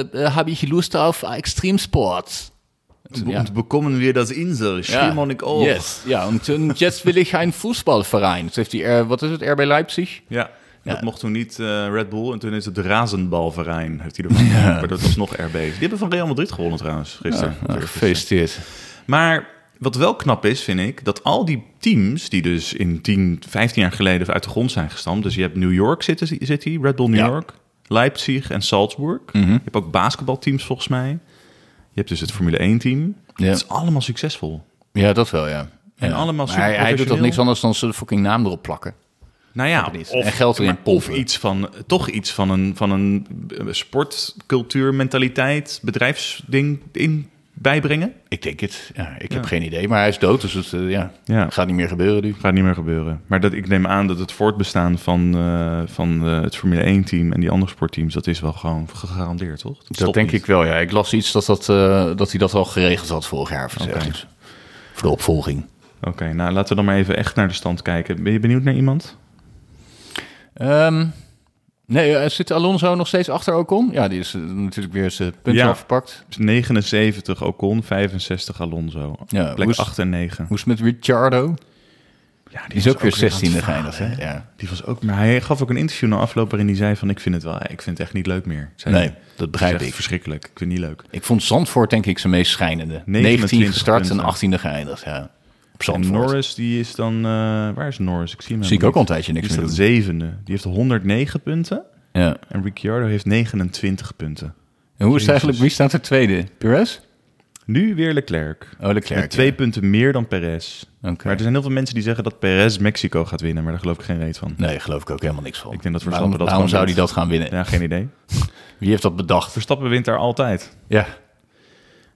B: äh, habe ich Lust auf Extremsports. Ja.
A: En bekomen weer dat insel. Schimon ik ook.
B: Yes, ja, und, und jetzt will ich einen Fußballverein. Jetzt heeft hij, eh, wat is het, RB Leipzig?
A: Ja. Dat mocht toen niet eh, Red Bull. En toen is het Razenbalverein. Heeft hij ervan gemaakt. Maar dat was nog RB. Die hebben van Real Madrid gewonnen trouwens. Gisteren.
B: Nou, Gefeliciteerd.
A: Maar wat wel knap is, vind ik, dat al die teams die dus in 10, 15 jaar geleden uit de grond zijn gestampt. Dus je hebt New York zitten, zit hier, Red Bull New
B: Ja. Mhm.
A: York, Leipzig en Salzburg. Je hebt ook basketbalteams volgens mij. Je hebt dus het Formule 1 team.
B: Ja.
A: Het is allemaal succesvol.
B: Ja, dat wel, ja.
A: En
B: Ja.
A: allemaal
B: Maar hij, hij doet toch
A: superprofessioneel?
B: niks anders dan zijn fucking naam erop plakken.
A: Nou ja,
B: niet.
A: of,
B: En geld erin
A: maar of
B: pompen.
A: iets van, toch iets van een, van een eh, sportcultuur, mentaliteit, bedrijfsding in bijbrengen.
B: Ik denk het. Ja, ik heb geen idee, maar hij is dood, dus het eh, ja,
A: Ja.
B: gaat niet meer gebeuren nu.
A: Gaat niet meer gebeuren. Maar dat, ik neem aan dat het voortbestaan van, eh, van eh, het Formule 1-team en die andere sportteams, dat is wel gewoon gegarandeerd, toch? Dat,
B: Dat
A: stopt
B: denk
A: niet.
B: ik wel, ja. Ik las iets dat, dat, eh, dat hij dat al geregeld had vorig jaar. Of zo, ergens. Voor de opvolging.
A: Oké, nou laten we dan maar even echt naar de stand kijken. Ben je benieuwd naar iemand?
B: Ehm, nee, eh, zit Alonso nog steeds achter Ocon? Ja, die is eh, natuurlijk weer zijn puntje
A: Ja.
B: afgepakt.
A: 79 Ocon, 65 Alonso.
B: Ja,
A: Plek
B: hoe is-
A: 8 en 9.
B: Hoe is het met Ricciardo?
A: Ja,
B: Die is ook weer
A: aan
B: 16e
A: het
B: geinig,
A: falen,
B: hè? Ja.
A: Die was ook, maar hij gaf ook een interview na afloop waarin hij zei van... ik vind het wel, ik vind het echt niet leuk meer. Zei
B: Nee,
A: hij.
B: dat begrijp
A: is echt
B: ik.
A: verschrikkelijk. Ik vind het niet leuk.
B: Ik vond Zandvoort denk ik zijn meest schijnende. 19
A: 29
B: gestart en
A: punten.
B: 18e geëindigd, ja. Op
A: En
B: Zandvoort.
A: Norris, die is dan... eh, waar is Norris? Ik zie hem
B: Zie ik
A: helemaal
B: ook al een
A: niet.
B: tijdje niks
A: Die
B: meer
A: is
B: doen.
A: dat zevende. Die heeft 109 punten.
B: Ja.
A: En Ricciardo heeft 29 punten.
B: En hoe is
A: Jezus.
B: het eigenlijk, wie staat er tweede? Perez?
A: Nu weer Leclerc.
B: Oh, Leclerc,
A: Met twee
B: ja.
A: punten meer dan Perez.
B: Oké.
A: Maar er zijn heel veel mensen die zeggen dat Perez Mexico gaat winnen. Maar daar geloof ik geen reet van.
B: Nee, geloof ik ook helemaal niks van.
A: Ik denk dat
B: waarom,
A: Verstappen dat gewoon
B: waarom zou
A: doet.
B: hij dat gaan winnen?
A: Ja, geen idee.
B: Wie heeft dat bedacht?
A: Verstappen wint daar altijd.
B: Ja.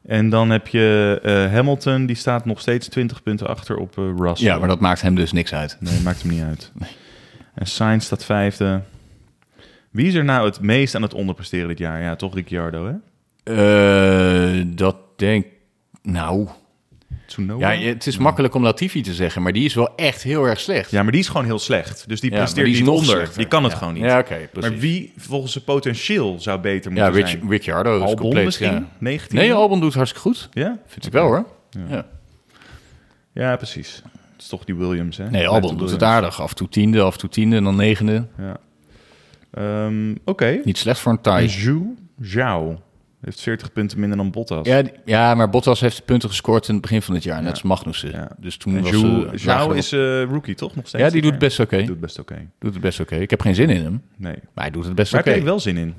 A: En dan heb je eh, Hamilton. Die staat nog steeds 20 punten achter op eh, Russell.
B: ja, maar dat maakt hem dus niks uit.
A: Nee, maakt hem niet uit. En Sainz staat vijfde. Wie is er nou het meest aan het onderpresteren dit jaar? Ja, toch Ricciardo, hè?
B: Eh, dat denk Nou,
A: Tsunoda?
B: ja, het is makkelijk om Latifi te zeggen, maar die is wel echt heel erg slecht.
A: Ja, maar die is gewoon heel slecht. Dus die
B: Ja, maar
A: presteert
B: die is
A: niet
B: nog
A: onder.
B: slechter.
A: Die kan het
B: Ja.
A: gewoon niet.
B: Ja, oké, precies.
A: maar wie volgens zijn potentieel zou beter
B: Ja,
A: moeten
B: Rich,
A: zijn?
B: Ricciardo is
A: Albon
B: compleet.
A: misschien?
B: ja.
A: 19?
B: Nee, Albon doet hartstikke goed.
A: Ja?
B: Vind ik wel hoor. Ja.
A: ja, precies. Het is toch die Williams, hè?
B: Nee,
A: Net
B: Albon
A: de
B: doet het
A: Williams.
B: aardig. Af en toe tiende, af en toe tiende en dan negende.
A: Ehm, Oké.
B: Niet slecht voor een
A: En
B: tie.
A: Zhu Zhao heeft 40 punten minder dan Bottas.
B: Ja, die- ja, maar Bottas heeft punten gescoord in het begin van het jaar, net als Magnussen.
A: Ja.
B: Dus toen
A: En
B: was
A: Zhu-
B: eh, lager
A: Zhao
B: op-
A: is eh, rookie, toch? Nog steeds
B: Ja, die
A: dit
B: doet
A: jaar?
B: best oké.
A: Doet best oké.
B: Doet het best oké. Ik heb geen zin in hem,
A: Nee.
B: maar hij doet het best
A: Waar
B: oké.
A: heb je wel zin in?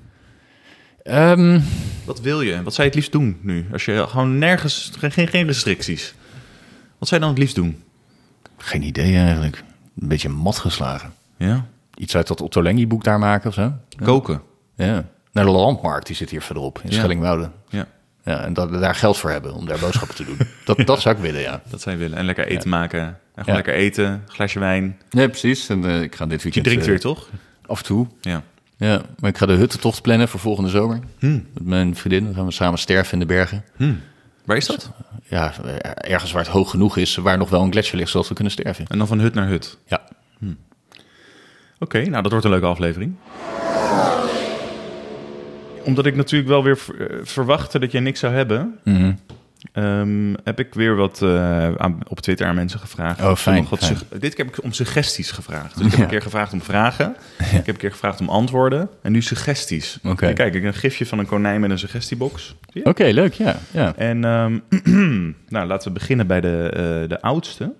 B: Ehm,
A: Wat wil je? Wat zou je het liefst doen nu? Als je gewoon nergens, geen, geen, geen restricties. Wat zou je dan het liefst doen?
B: geen idee eigenlijk. Een beetje mat geslagen.
A: Ja?
B: Iets uit dat Otto Lengi boek daar maken of zo.
A: Koken.
B: Ja. Naar de landmarkt, die zit hier verderop in
A: Ja.
B: Schellingwoude.
A: Ja.
B: Ja, en dat, daar geld voor hebben om daar boodschappen te doen. Dat, dat zou ik willen, ja.
A: Dat zij willen. En lekker eten maken. En gewoon
B: Ja.
A: lekker eten. Glasje wijn.
B: Nee, precies. En eh, ik ga dit
A: Je
B: weekend...
A: drinkt
B: eh,
A: weer, toch?
B: Af en toe.
A: Ja.
B: Ja, maar ik ga de huttentocht plannen voor volgende zomer. Met mijn vriendin. Dan gaan we samen sterven in de bergen.
A: Waar is dat?
B: Ja, eh, ergens waar het hoog genoeg is, waar nog wel een gletsjer ligt, zodat we kunnen sterven.
A: En dan van hut naar hut.
B: Ja.
A: Oké, nou dat wordt een leuke aflevering. Omdat ik natuurlijk wel weer ver- eh, verwachtte dat jij niks zou hebben...
B: Mhm.
A: ehm, heb ik weer wat eh, aan, op Twitter aan mensen gevraagd.
B: Oh,
A: Of
B: fijn,
A: nog wat
B: fijn.
A: sug- Dit keer heb ik om suggesties gevraagd. Dus ik heb een keer gevraagd om vragen. Ik heb een keer gevraagd om antwoorden. En nu suggesties.
B: Oké.
A: En Kijk, ik heb een gifje van een konijn met een suggestiebox. Zie je?
B: Oké, leuk, ja. ja.
A: En ehm, nou, laten we beginnen bij de, eh, de oudste.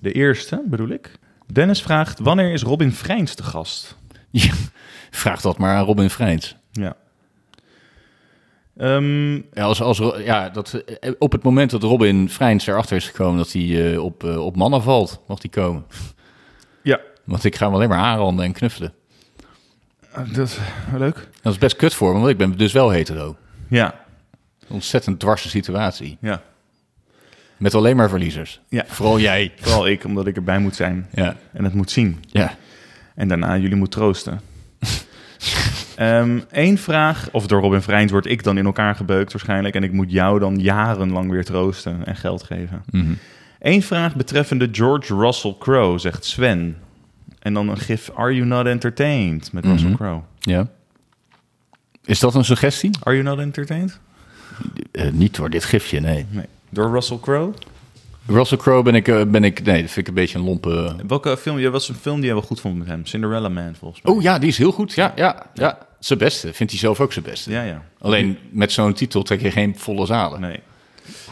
A: De eerste, bedoel ik. Dennis vraagt, wanneer is Robin Vrijns te gast?
B: Ja, Vraag dat maar aan Robin Vrijns.
A: Ja. Ehm,
B: Ja, als, als, Ro- ja, dat, eh, op het moment dat Robin Vrijns erachter is gekomen dat hij eh, op, eh, op mannen valt, mag hij komen.
A: ja,
B: Want ik ga hem alleen maar aanranden en knuffelen.
A: dat is leuk.
B: Dat is best kut voor me, want ik ben dus wel hetero.
A: Ja,
B: Ontzettend dwarse situatie.
A: ja.
B: Met alleen maar verliezers.
A: Ja.
B: Vooral jij.
A: Vooral ik, omdat ik erbij moet zijn
B: Ja.
A: en het moet zien.
B: Ja.
A: En daarna jullie moet troosten. Eén vraag, of door Robin Vrijns word ik dan in elkaar gebeukt waarschijnlijk... en ik moet jou dan jarenlang weer troosten en geld geven. Eén vraag betreffende George Russell Crowe, zegt Sven. En dan een gif Are You Not Entertained met Russell Crowe.
B: ja. Is dat een suggestie?
A: Are You Not Entertained?
B: Eh, niet door dit gifje, nee.
A: Nee. Door Russell Crowe?
B: Russell Crowe ben ik, eh, ben ik... Nee, dat vind ik een beetje een lompe... eh,
A: Welke film? Ja, was een film die je wel goed vond met hem. Cinderella Man, volgens mij.
B: Oh ja, die is heel goed. Ja, ja, ja. Zijn beste. Vindt hij zelf ook zijn beste.
A: Ja, ja.
B: Alleen met zo'n titel trek je geen volle zalen.
A: Nee.
B: Nee,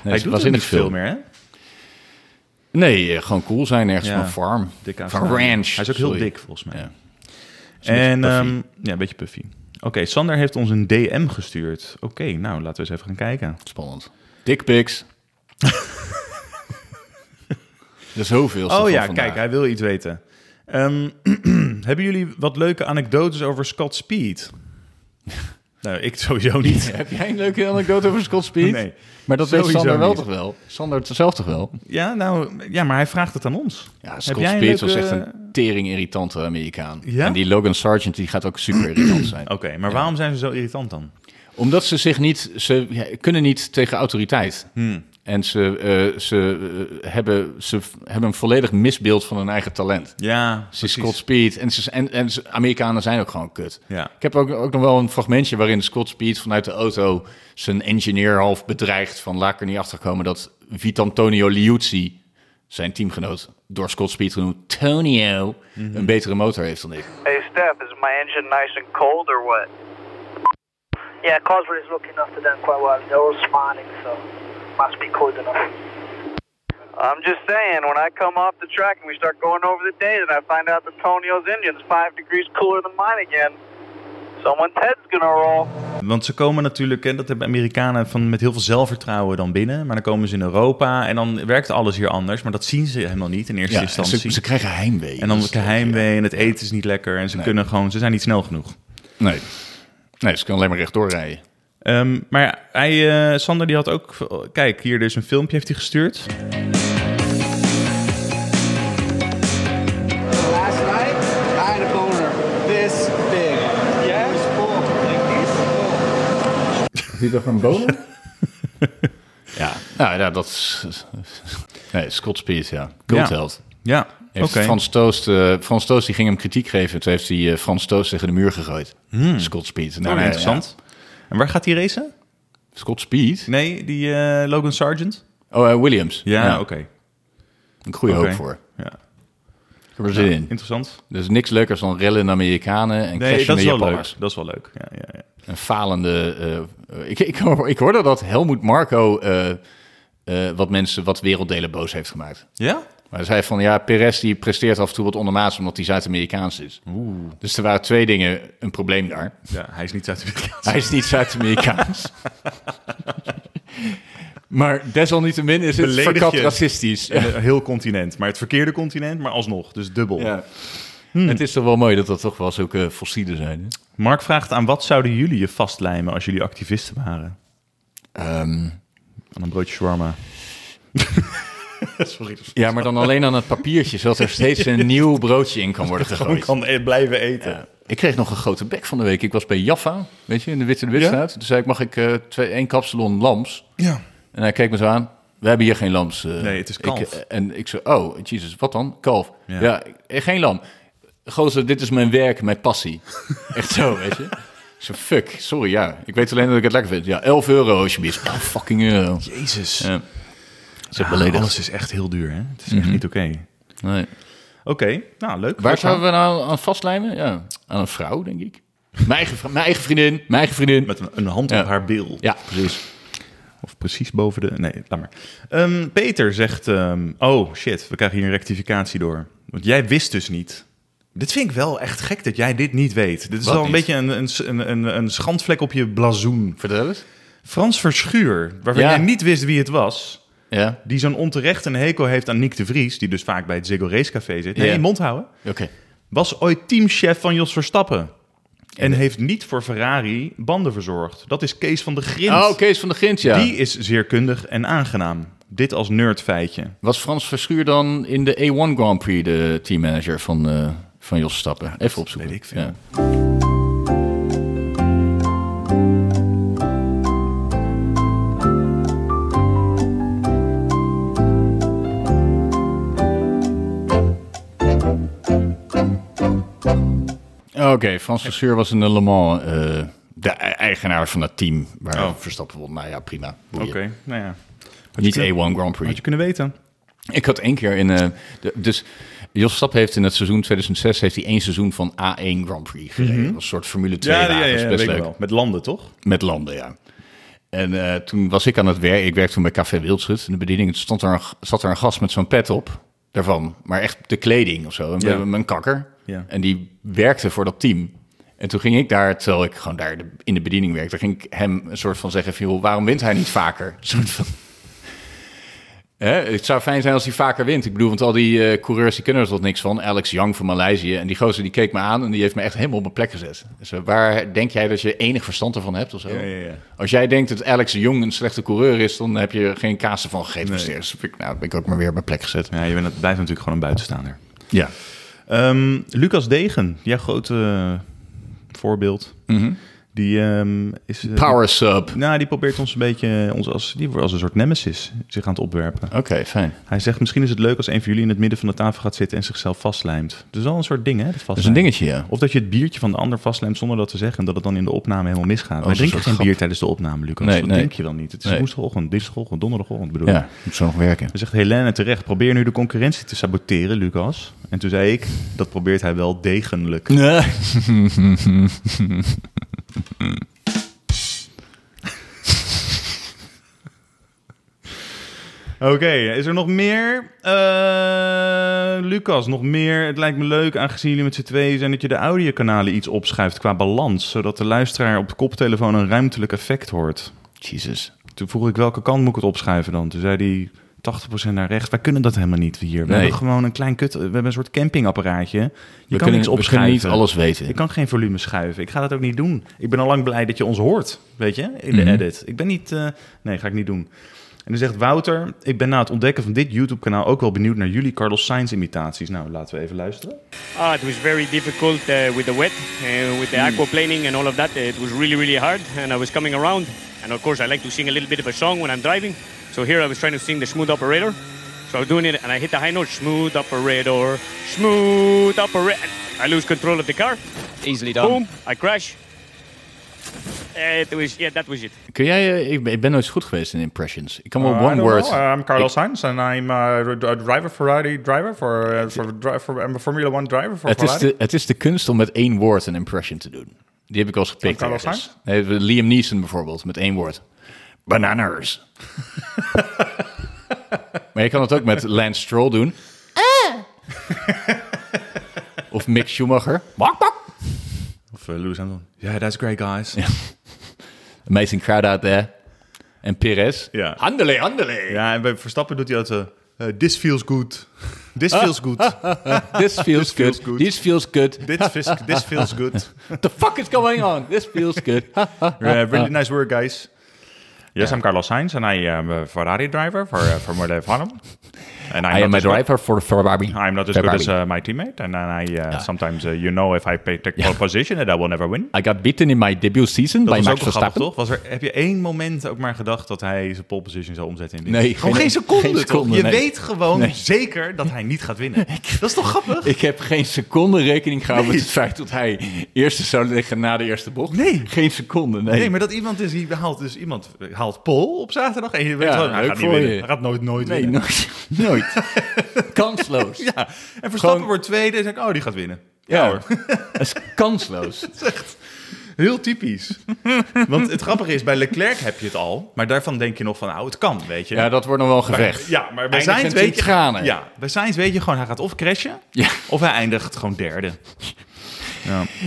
A: Hij
B: was
A: doet het
B: in
A: niet
B: het film.
A: veel meer, hè?
B: Nee, eh, gewoon cool zijn ergens
A: Ja.
B: van farm.
A: Dik
B: van
A: Australië.
B: ranch.
A: Hij is ook heel
B: sorry.
A: dik, volgens mij.
B: Ja.
A: En,
B: beetje
A: ehm,
B: puffy.
A: ja, een beetje puffy. Oké, Sander heeft ons een DM gestuurd. Oké, nou, laten we eens even gaan kijken.
B: Spannend. Dick pics. Dat is zoveel.
A: Oh ja, kijk, hij wil iets weten. Ehm, hebben jullie wat leuke anekdotes over Scott Speed? nou, ik sowieso niet.
B: Heb jij een leuke anekdote over Scott Speed?
A: Nee.
B: Maar dat weet
A: Sowieso
B: Sander wel
A: niet.
B: toch wel? Sander het zelf toch wel?
A: Ja, nou, ja, maar hij vraagt het aan ons.
B: Ja,
A: Heb
B: Scott
A: jij een
B: Speed was
A: leuke-
B: echt een tering irritante Amerikaan.
A: Ja?
B: En die Logan Sargent die gaat ook super irritant zijn.
A: Oké, maar waarom zijn ze zo irritant dan?
B: Omdat ze zich niet, ze ja, kunnen niet tegen autoriteit.
A: Hmm.
B: En ze, eh, ze, eh, hebben, ze v- hebben een volledig misbeeld van hun eigen talent.
A: Ja,
B: Ze is Scott Speed en, ze, en, en ze- Amerikanen zijn ook gewoon kut.
A: Ja.
B: Ik heb ook, ook nog wel een fragmentje waarin Scott Speed vanuit de auto zijn engineer half bedreigt van laat ik er niet achter komen dat Vitantonio Liuzzi, zijn teamgenoot, door Scott Speed genoemd, Tonio,
A: Mhm.
B: een betere motor heeft dan ik.
G: Hey, Steph, is my engine nice and cold or what? Yeah, Causeway is looking after them quite well. They're all smiling, so must be cold enough. I'm just saying, when I come off the track and we start going over the days, and I find out that Tonio's engine's five degrees cooler than mine again, someone's head's gonna roll.
A: Want ze komen natuurlijk, en dat hebben Amerikanen van, met heel veel zelfvertrouwen dan binnen. Maar dan komen ze in Europa en dan werkt alles hier anders. Maar dat zien ze helemaal niet in eerste
B: Ja,
A: instantie.
B: ze, ze krijgen heimwee.
A: en dan
B: Dus
A: het heimwee en het eten is niet lekker. En ze kunnen gewoon, ze zijn niet snel genoeg.
B: Nee. Nee, ze kan alleen maar rechtdoor rijden.
A: Ehm, maar ja, hij, eh, Sander die had ook, kijk hier dus een filmpje heeft hij gestuurd.
H: Last night, I had a boner this big. Yeah? It was full. Like this full.
B: Ja, nou, ja dat is... Nee, Scott Speed, ja. Goldheld.
A: Ja, oké.
B: Heeft Frans, Toost, eh, Frans Toost die ging hem kritiek geven. Toen heeft hij eh, Frans Toost tegen de muur gegooid. Scott Speed. Nou,
A: Nou,
B: nee,
A: interessant. En waar gaat hij racen?
B: ja. Scott Speed?
A: Nee, die eh, Logan Sargent?
B: Oh, eh, Williams.
A: Ja, oké.
B: Een goede
A: Oké.
B: hoop voor.
A: Ja.
B: Ik heb er zin in.
A: Interessant.
B: Er is niks leukers dan rellen in Amerikanen
A: Nee,
B: en
A: dat
B: crashende
A: is wel
B: Japanners.
A: leuk. Dat is wel leuk. Ja, ja, ja.
B: Een falende... eh, eh, ik, ik, hoor- ik hoorde dat Helmoet Marco eh, eh, wat mensen, wat werelddelen boos heeft gemaakt.
A: ja?
B: Maar hij zei van, ja, Perez die presteert af en toe wat ondermaats omdat hij Zuid-Amerikaans is. Dus er waren twee dingen een probleem daar.
A: Ja, hij is niet Zuid-Amerikaans.
B: Hij is niet Zuid-Amerikaans. maar desalniettemin is het
A: Beledig je.
B: verkapt racistisch. Ja.
A: Een heel continent, maar het verkeerde continent, maar alsnog, dus dubbel.
B: Het is toch wel mooi dat dat toch wel zulke fossielen zijn. Hè?
A: Mark vraagt aan wat zouden jullie je vastlijmen als jullie activisten waren?
B: Ehm,
A: Aan een broodje shawarma. Sorry, dat
B: ja, maar dan alleen aan het papiertje, zodat er steeds een nieuw broodje in kan worden
A: gewoon
B: gegooid.
A: kan e- blijven eten.
B: Ik kreeg nog een grote bek van de week. Ik was bij Jaffa, weet je, in de Witte de Witstraat. Toen zei ik, mag ik eh, twee, één kapsalon lams?
A: Ja.
B: En hij keek me zo aan. We hebben hier geen lams. eh.
A: Nee, het is kalf.
B: Ik, eh, en ik zei, oh, jezus, wat dan? Kalf.
A: Ja.
B: Ja, eh, geen lam. Gozer, dit is mijn werk, mijn passie. Echt zo, weet je? Ik zei, fuck, sorry, ja. Ik weet alleen dat ik het lekker vind. Ja, 11 euro alsjeblieft. 11 fucking euro.
A: Jezus.
B: Ja. Ze
A: Ja,
B: beledigd.
A: alles is echt heel duur, hè? Het is echt niet oké.
B: Nee.
A: Oké, nou leuk.
B: Waar zouden we nou aan vastlijmen? Ja, aan een vrouw, denk ik. Mijn eigen, vrou- mijn eigen vriendin, mijn eigen vriendin.
A: Met een, een hand
B: Ja.
A: op haar bil.
B: Ja, precies.
A: Of precies boven de... Nee, laat maar. Ehm, Peter zegt... ehm, oh, shit, we krijgen hier een rectificatie door. Want jij wist dus niet... Dit vind ik wel echt gek dat jij dit niet weet. Dit is
B: Wat
A: wel een
B: niet?
A: beetje een, een, een, een, een schandvlek op je blazoen.
B: Vertel eens.
A: Frans Verschuur, waarvan
B: Ja.
A: jij niet wist wie het was...
B: Ja,
A: die zo'n onterecht een hekel heeft aan Nick de Vries... die dus vaak bij het Ziggo Race Café zit. Nee,
B: Ja.
A: je mond houden.
B: oké.
A: was ooit teamchef van Jos Verstappen. En heeft niet voor Ferrari banden verzorgd. Dat is Kees van de Grint.
B: Oh, Kees van de Grint, ja.
A: Die is zeer kundig en aangenaam. Dit als nerdfeitje.
B: Was Frans Verschuur dan in de A1 Grand Prix de teammanager van, eh, van Jos Stappen? Even opzoeken.
A: weet ik veel.
B: Ja. Oké, Frans Verschuur was in de Le Mans eh, de e- eigenaar van dat team waar
A: Oh.
B: Verstappen won. Nou ja, prima.
A: Oké,
B: Boeien.
A: nou ja.
B: Niet A1 Grand Prix.
A: Had je kunnen weten.
B: Ik had één keer in. eh, de- dus Jos Stap heeft in het seizoen 2006 heeft hij één seizoen van A1 Grand Prix gereden. Dat was een soort Formule 2
A: Mhm. Ja, ja, ja,
B: wagens,
A: ja, weet
B: best
A: ik
B: leuk.
A: wel. Met landen, toch?
B: Met landen, ja. En eh, toen was ik aan het werk. Ik werkte toen bij Café Wildschut. In de bediening Toen stond er een, zat er een gast met zo'n pet op. Daarvan. Maar echt de kleding of zo. En we
A: Ja.
B: hebben hem een kakker.
A: Ja.
B: En die werkte voor dat team. En toen ging ik daar, terwijl ik gewoon daar de- in de bediening werkte... ging ik hem een soort van zeggen van... Joh, waarom wint hij niet vaker? Een soort van... Hè, het zou fijn zijn als hij vaker wint. Ik bedoel, want al die eh, coureurs die kunnen er tot niks van. Alex Young van Maleisië. En die gozer die keek me aan en die heeft me echt helemaal op mijn plek gezet. Dus, eh, waar denk jij dat je enig verstand ervan hebt of zo?
A: ja, ja.
B: Als jij denkt dat Alex Young een slechte coureur is... dan heb je geen kaas ervan gegeten. Dus eerst heb ik- nou, ben ik ook maar weer op mijn plek gezet.
A: Ja, je bent, blijft natuurlijk gewoon een buitenstaander.
B: Ja.
A: Ehm, Lucas Degen, jouw grote eh, voorbeeld. Die ehm, is... eh,
B: Mhm. Power sub.
A: Nou, die probeert ons een beetje... eh, Ons als, die wordt als een soort nemesis zich aan het opwerpen.
B: Oké, fijn.
A: Hij zegt, misschien is het leuk als een van jullie in het midden van de tafel gaat zitten en zichzelf vastlijmt. Dus al een soort ding, hè? Dat,
B: Dat is een
A: dingetje.
B: dingetje, ja.
A: Of dat je het biertje van de ander vastlijmt zonder dat te zeggen. En dat het dan in de opname helemaal misgaat. Wij
B: een
A: drinken
B: soort
A: geen
B: grap.
A: bier tijdens de opname, Lucas.
B: Nee,
A: dat
B: nee.
A: denk je wel niet. Het is
B: Nee.
A: woensdagochtend, dinsdagochtend, donderdagochtend bedoel ik.
B: Ja, moet zo nog werken.
A: Dan zegt Helene terecht, probeer nu de concurrentie te saboteren, Lucas. En toen zei ik, dat probeert hij wel degelijk. Oké, is er nog meer? Eh, Lucas, nog meer. Het lijkt me leuk, aangezien jullie met z'n tweeën zijn, dat je de audiokanalen iets opschuift qua balans. Zodat de luisteraar op de koptelefoon een ruimtelijk effect hoort.
B: Jesus.
A: Toen vroeg ik welke kant moet ik het opschuiven dan? Toen zei hij 80% naar rechts. Wij kunnen dat helemaal niet hier. We
B: Nee.
A: hebben gewoon een klein kut. We hebben een soort campingapparaatje. Je
B: We
A: kan
B: kunnen,
A: niks
B: we kunnen
A: opschuiven.
B: niet alles
A: Ik
B: weten.
A: kan geen volume schuiven. Ik ga dat ook niet doen. Ik ben al lang blij dat je ons hoort, weet je, in de edit. Ik ben niet... eh, nee, ga ik niet doen. En dan zegt Wouter, ik ben na het ontdekken van dit YouTube-kanaal ook wel benieuwd naar jullie Carlos Sainz imitaties. Nou, laten we even luisteren.
I: Ah, it was very difficult uh, with the wet, uh, with the
J: Mm.
I: aquaplaning and all of that. It was really, really hard, and I was coming around. And of course, I like to sing a little bit of a song when I'm driving. So here I was trying to sing the smooth operator. So I was doing it, and I hit the high note, smooth operator, smooth operator. I lose control of the car.
J: Easily done.
I: Boom! I crash. Uh, it was yeah, that was it.
B: Kun jij, eh, ik ben, ik ben nooit zo goed geweest in impressions. Ik
A: Oh,
B: kan wel one word.
A: Uh, I'm Carlos Sainz and I'm uh, a driver Ferrari driver for, um, Formula One driver for
B: het, is de, het is de kunst om met één woord een impression te doen. Die heb ik al eens gepikt.
A: Van Carlos
B: ergens. Nee, van Liam Neeson bijvoorbeeld, met één woord. Bananas. maar je kan het ook met Lance Stroll doen. of Mick Schumacher. Bak, bak.
A: Of eh, Lewis Hamilton. Yeah, that's great, guys.
B: Amazing crowd out there. En Perez.
A: Ja.
B: Handele, handele.
A: Ja, en bij Verstappen doet hij dat... eh, eh, this feels good. This feels good.
B: This
A: feels
B: feels good.
A: good.
B: This feels good.
A: This feels, this feels good.
B: The fuck is going on? This feels good.
A: Uh, really nice work, guys. Yes, I'm Carlos Sainz, and I am a Ferrari driver for uh, Formula One. And I'm
B: I am
A: not
B: a
A: as good-
B: driver for Ferrari.
A: I'm not as good as uh, my teammate, and, then I uh, sometimes, uh, you know, if I pay- take pole position, that I will never win.
B: I got beaten in my debut season bij Max Verstappen.
A: Was er, heb je één moment ook maar gedacht dat hij zijn pole position zou omzetten in
B: dit? Nee,
A: Gewoon geen,
B: geen-
A: seconde,
B: geen
A: toch?
B: seconde,
A: Je
B: nee.
A: weet gewoon
B: Nee.
A: zeker dat hij niet gaat winnen. dat is toch grappig?
B: Ik heb geen seconde rekening gehouden met het feit dat hij eerste zou liggen na de eerste bocht.
A: Nee.
B: Geen seconde, nee.
A: Nee, maar dat iemand is, die haalt dus iemand haalt pol op zaterdag en je weet
B: Ja,
A: gewoon, hij
B: leuk
A: gaat niet
B: voor
A: winnen.
B: je.
A: Hij gaat nooit, nooit
B: Nee, nou,
A: winnen.
B: nooit. nooit. kansloos. Ja,
A: Ja, en Verstappen
B: Gewoon-
A: wordt tweede en denk ik, oh, die gaat winnen.
B: hoor. Dat is kansloos.
A: Heel typisch. Want het grappige is, bij Leclerc heb je het al, maar daarvan denk je nog van, nou, het kan, weet je.
B: Ja, dat wordt nog wel gevecht.
A: Ja, maar bij
B: Eindigend
A: Sainz
B: in
A: weet je...
B: tranen.
A: Ja, bij Sainz weet je gewoon, hij gaat of crashen,
B: Ja.
A: of hij eindigt gewoon derde.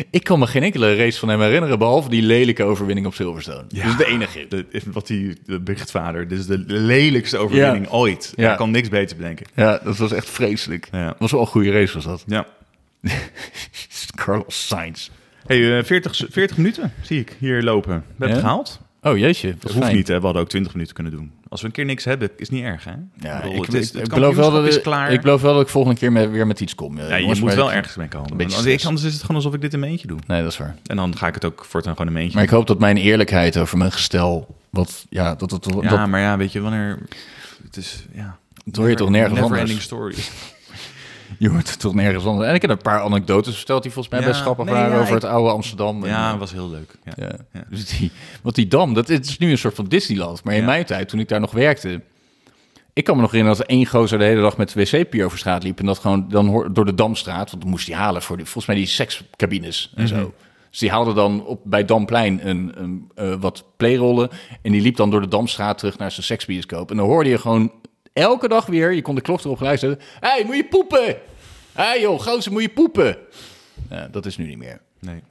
B: Ik kan me geen enkele race van hem herinneren, behalve die lelijke overwinning op Silverstone. Dat is de enige.
A: De- wat die de berichtvader, dit is de lelijkste overwinning
B: Ja.
A: ooit.
B: Ja.
A: Hij kan niks beter bedenken.
B: Ja, dat was echt vreselijk.
A: Ja.
B: Was wel een goede race, was dat.
A: Ja.
B: Carlos Sainz.
A: hey, eh, 40, s- 40 minuten zie ik hier lopen. We hebben
B: Ja?
A: het gehaald.
B: Oké. Oh jeetje, wat
A: Dat hoeft
B: fijn.
A: niet, hè? We hadden ook 20 minuten kunnen doen. Als we een keer niks hebben, is niet erg, hè?
B: Ja,
A: bedoel,
B: ik,
A: het is-
B: ik-
A: het
B: ik beloof wel dat
A: kampioenschap
B: ik,
A: is klaar.
B: ik beloof wel dat ik volgende keer met- weer met iets kom.
A: ja,
B: eh,
A: je
B: jongens,
A: moet
B: maar
A: wel
B: dat-
A: ergens mee komen.
B: een beetje
A: Want ik-
B: stress.
A: Anders is het gewoon alsof ik dit in mijn eentje doe.
B: Nee, dat is waar.
A: En dan ga ik het ook voortaan gewoon in mijn eentje
B: Maar ik hoop dat mijn eerlijkheid over mijn gestel... Wat, ja, dat, dat, dat,
A: doen. Ja, maar ja, weet je, wanneer... Het is, ja...
B: dat hoor je toch nergens
A: never
B: anders.
A: ending story.
B: Je hoort het toch nergens anders. En ik heb een paar anekdotes verteld die volgens mij
A: Ja,
B: best grappig
A: nee,
B: waren
A: ja,
B: over
A: ik-
B: het oude Amsterdam. en-
A: Ja, was heel leuk. Ja.
B: Ja.
A: Ja.
B: Dus die, want die dam, dat is nu een soort van Disneyland. Maar in
A: Ja.
B: mijn tijd, toen ik daar nog werkte... Ik kan me nog herinneren dat één gozer de hele dag met wc-papier over straat liep... en dat gewoon dan hoor- door de Damstraat, want dan moest hij halen voor die, volgens mij die sekscabines en zo. Dus die haalde dan op, bij Damplein een, een, eh, wat playrollen... en die liep dan door de Damstraat terug naar zijn seksbioscoop. En dan hoorde je gewoon elke dag weer, je kon de klok erop luisteren... Hé, hey, moet je poepen? Hé hey, joh, gozer, moet je poepen? Ja, dat is nu niet meer.
A: Nee.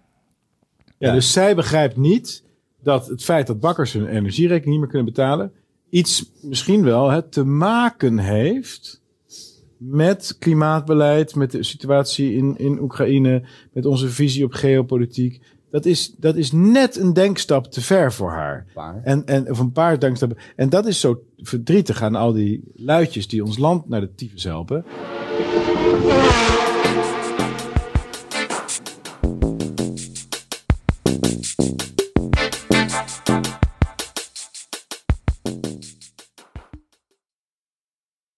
J: Ja, Dus zij begrijpt niet dat het feit dat bakkers hun energierekening niet meer kunnen betalen, iets misschien wel hè, te maken heeft met klimaatbeleid, met de situatie in, in Oekraïne, met onze visie op geopolitiek. Dat is, dat is net een denkstap te ver voor haar. En, en, of een paar denkstappen. En dat is zo verdrietig aan al die luidjes die ons land naar de tyfus helpen.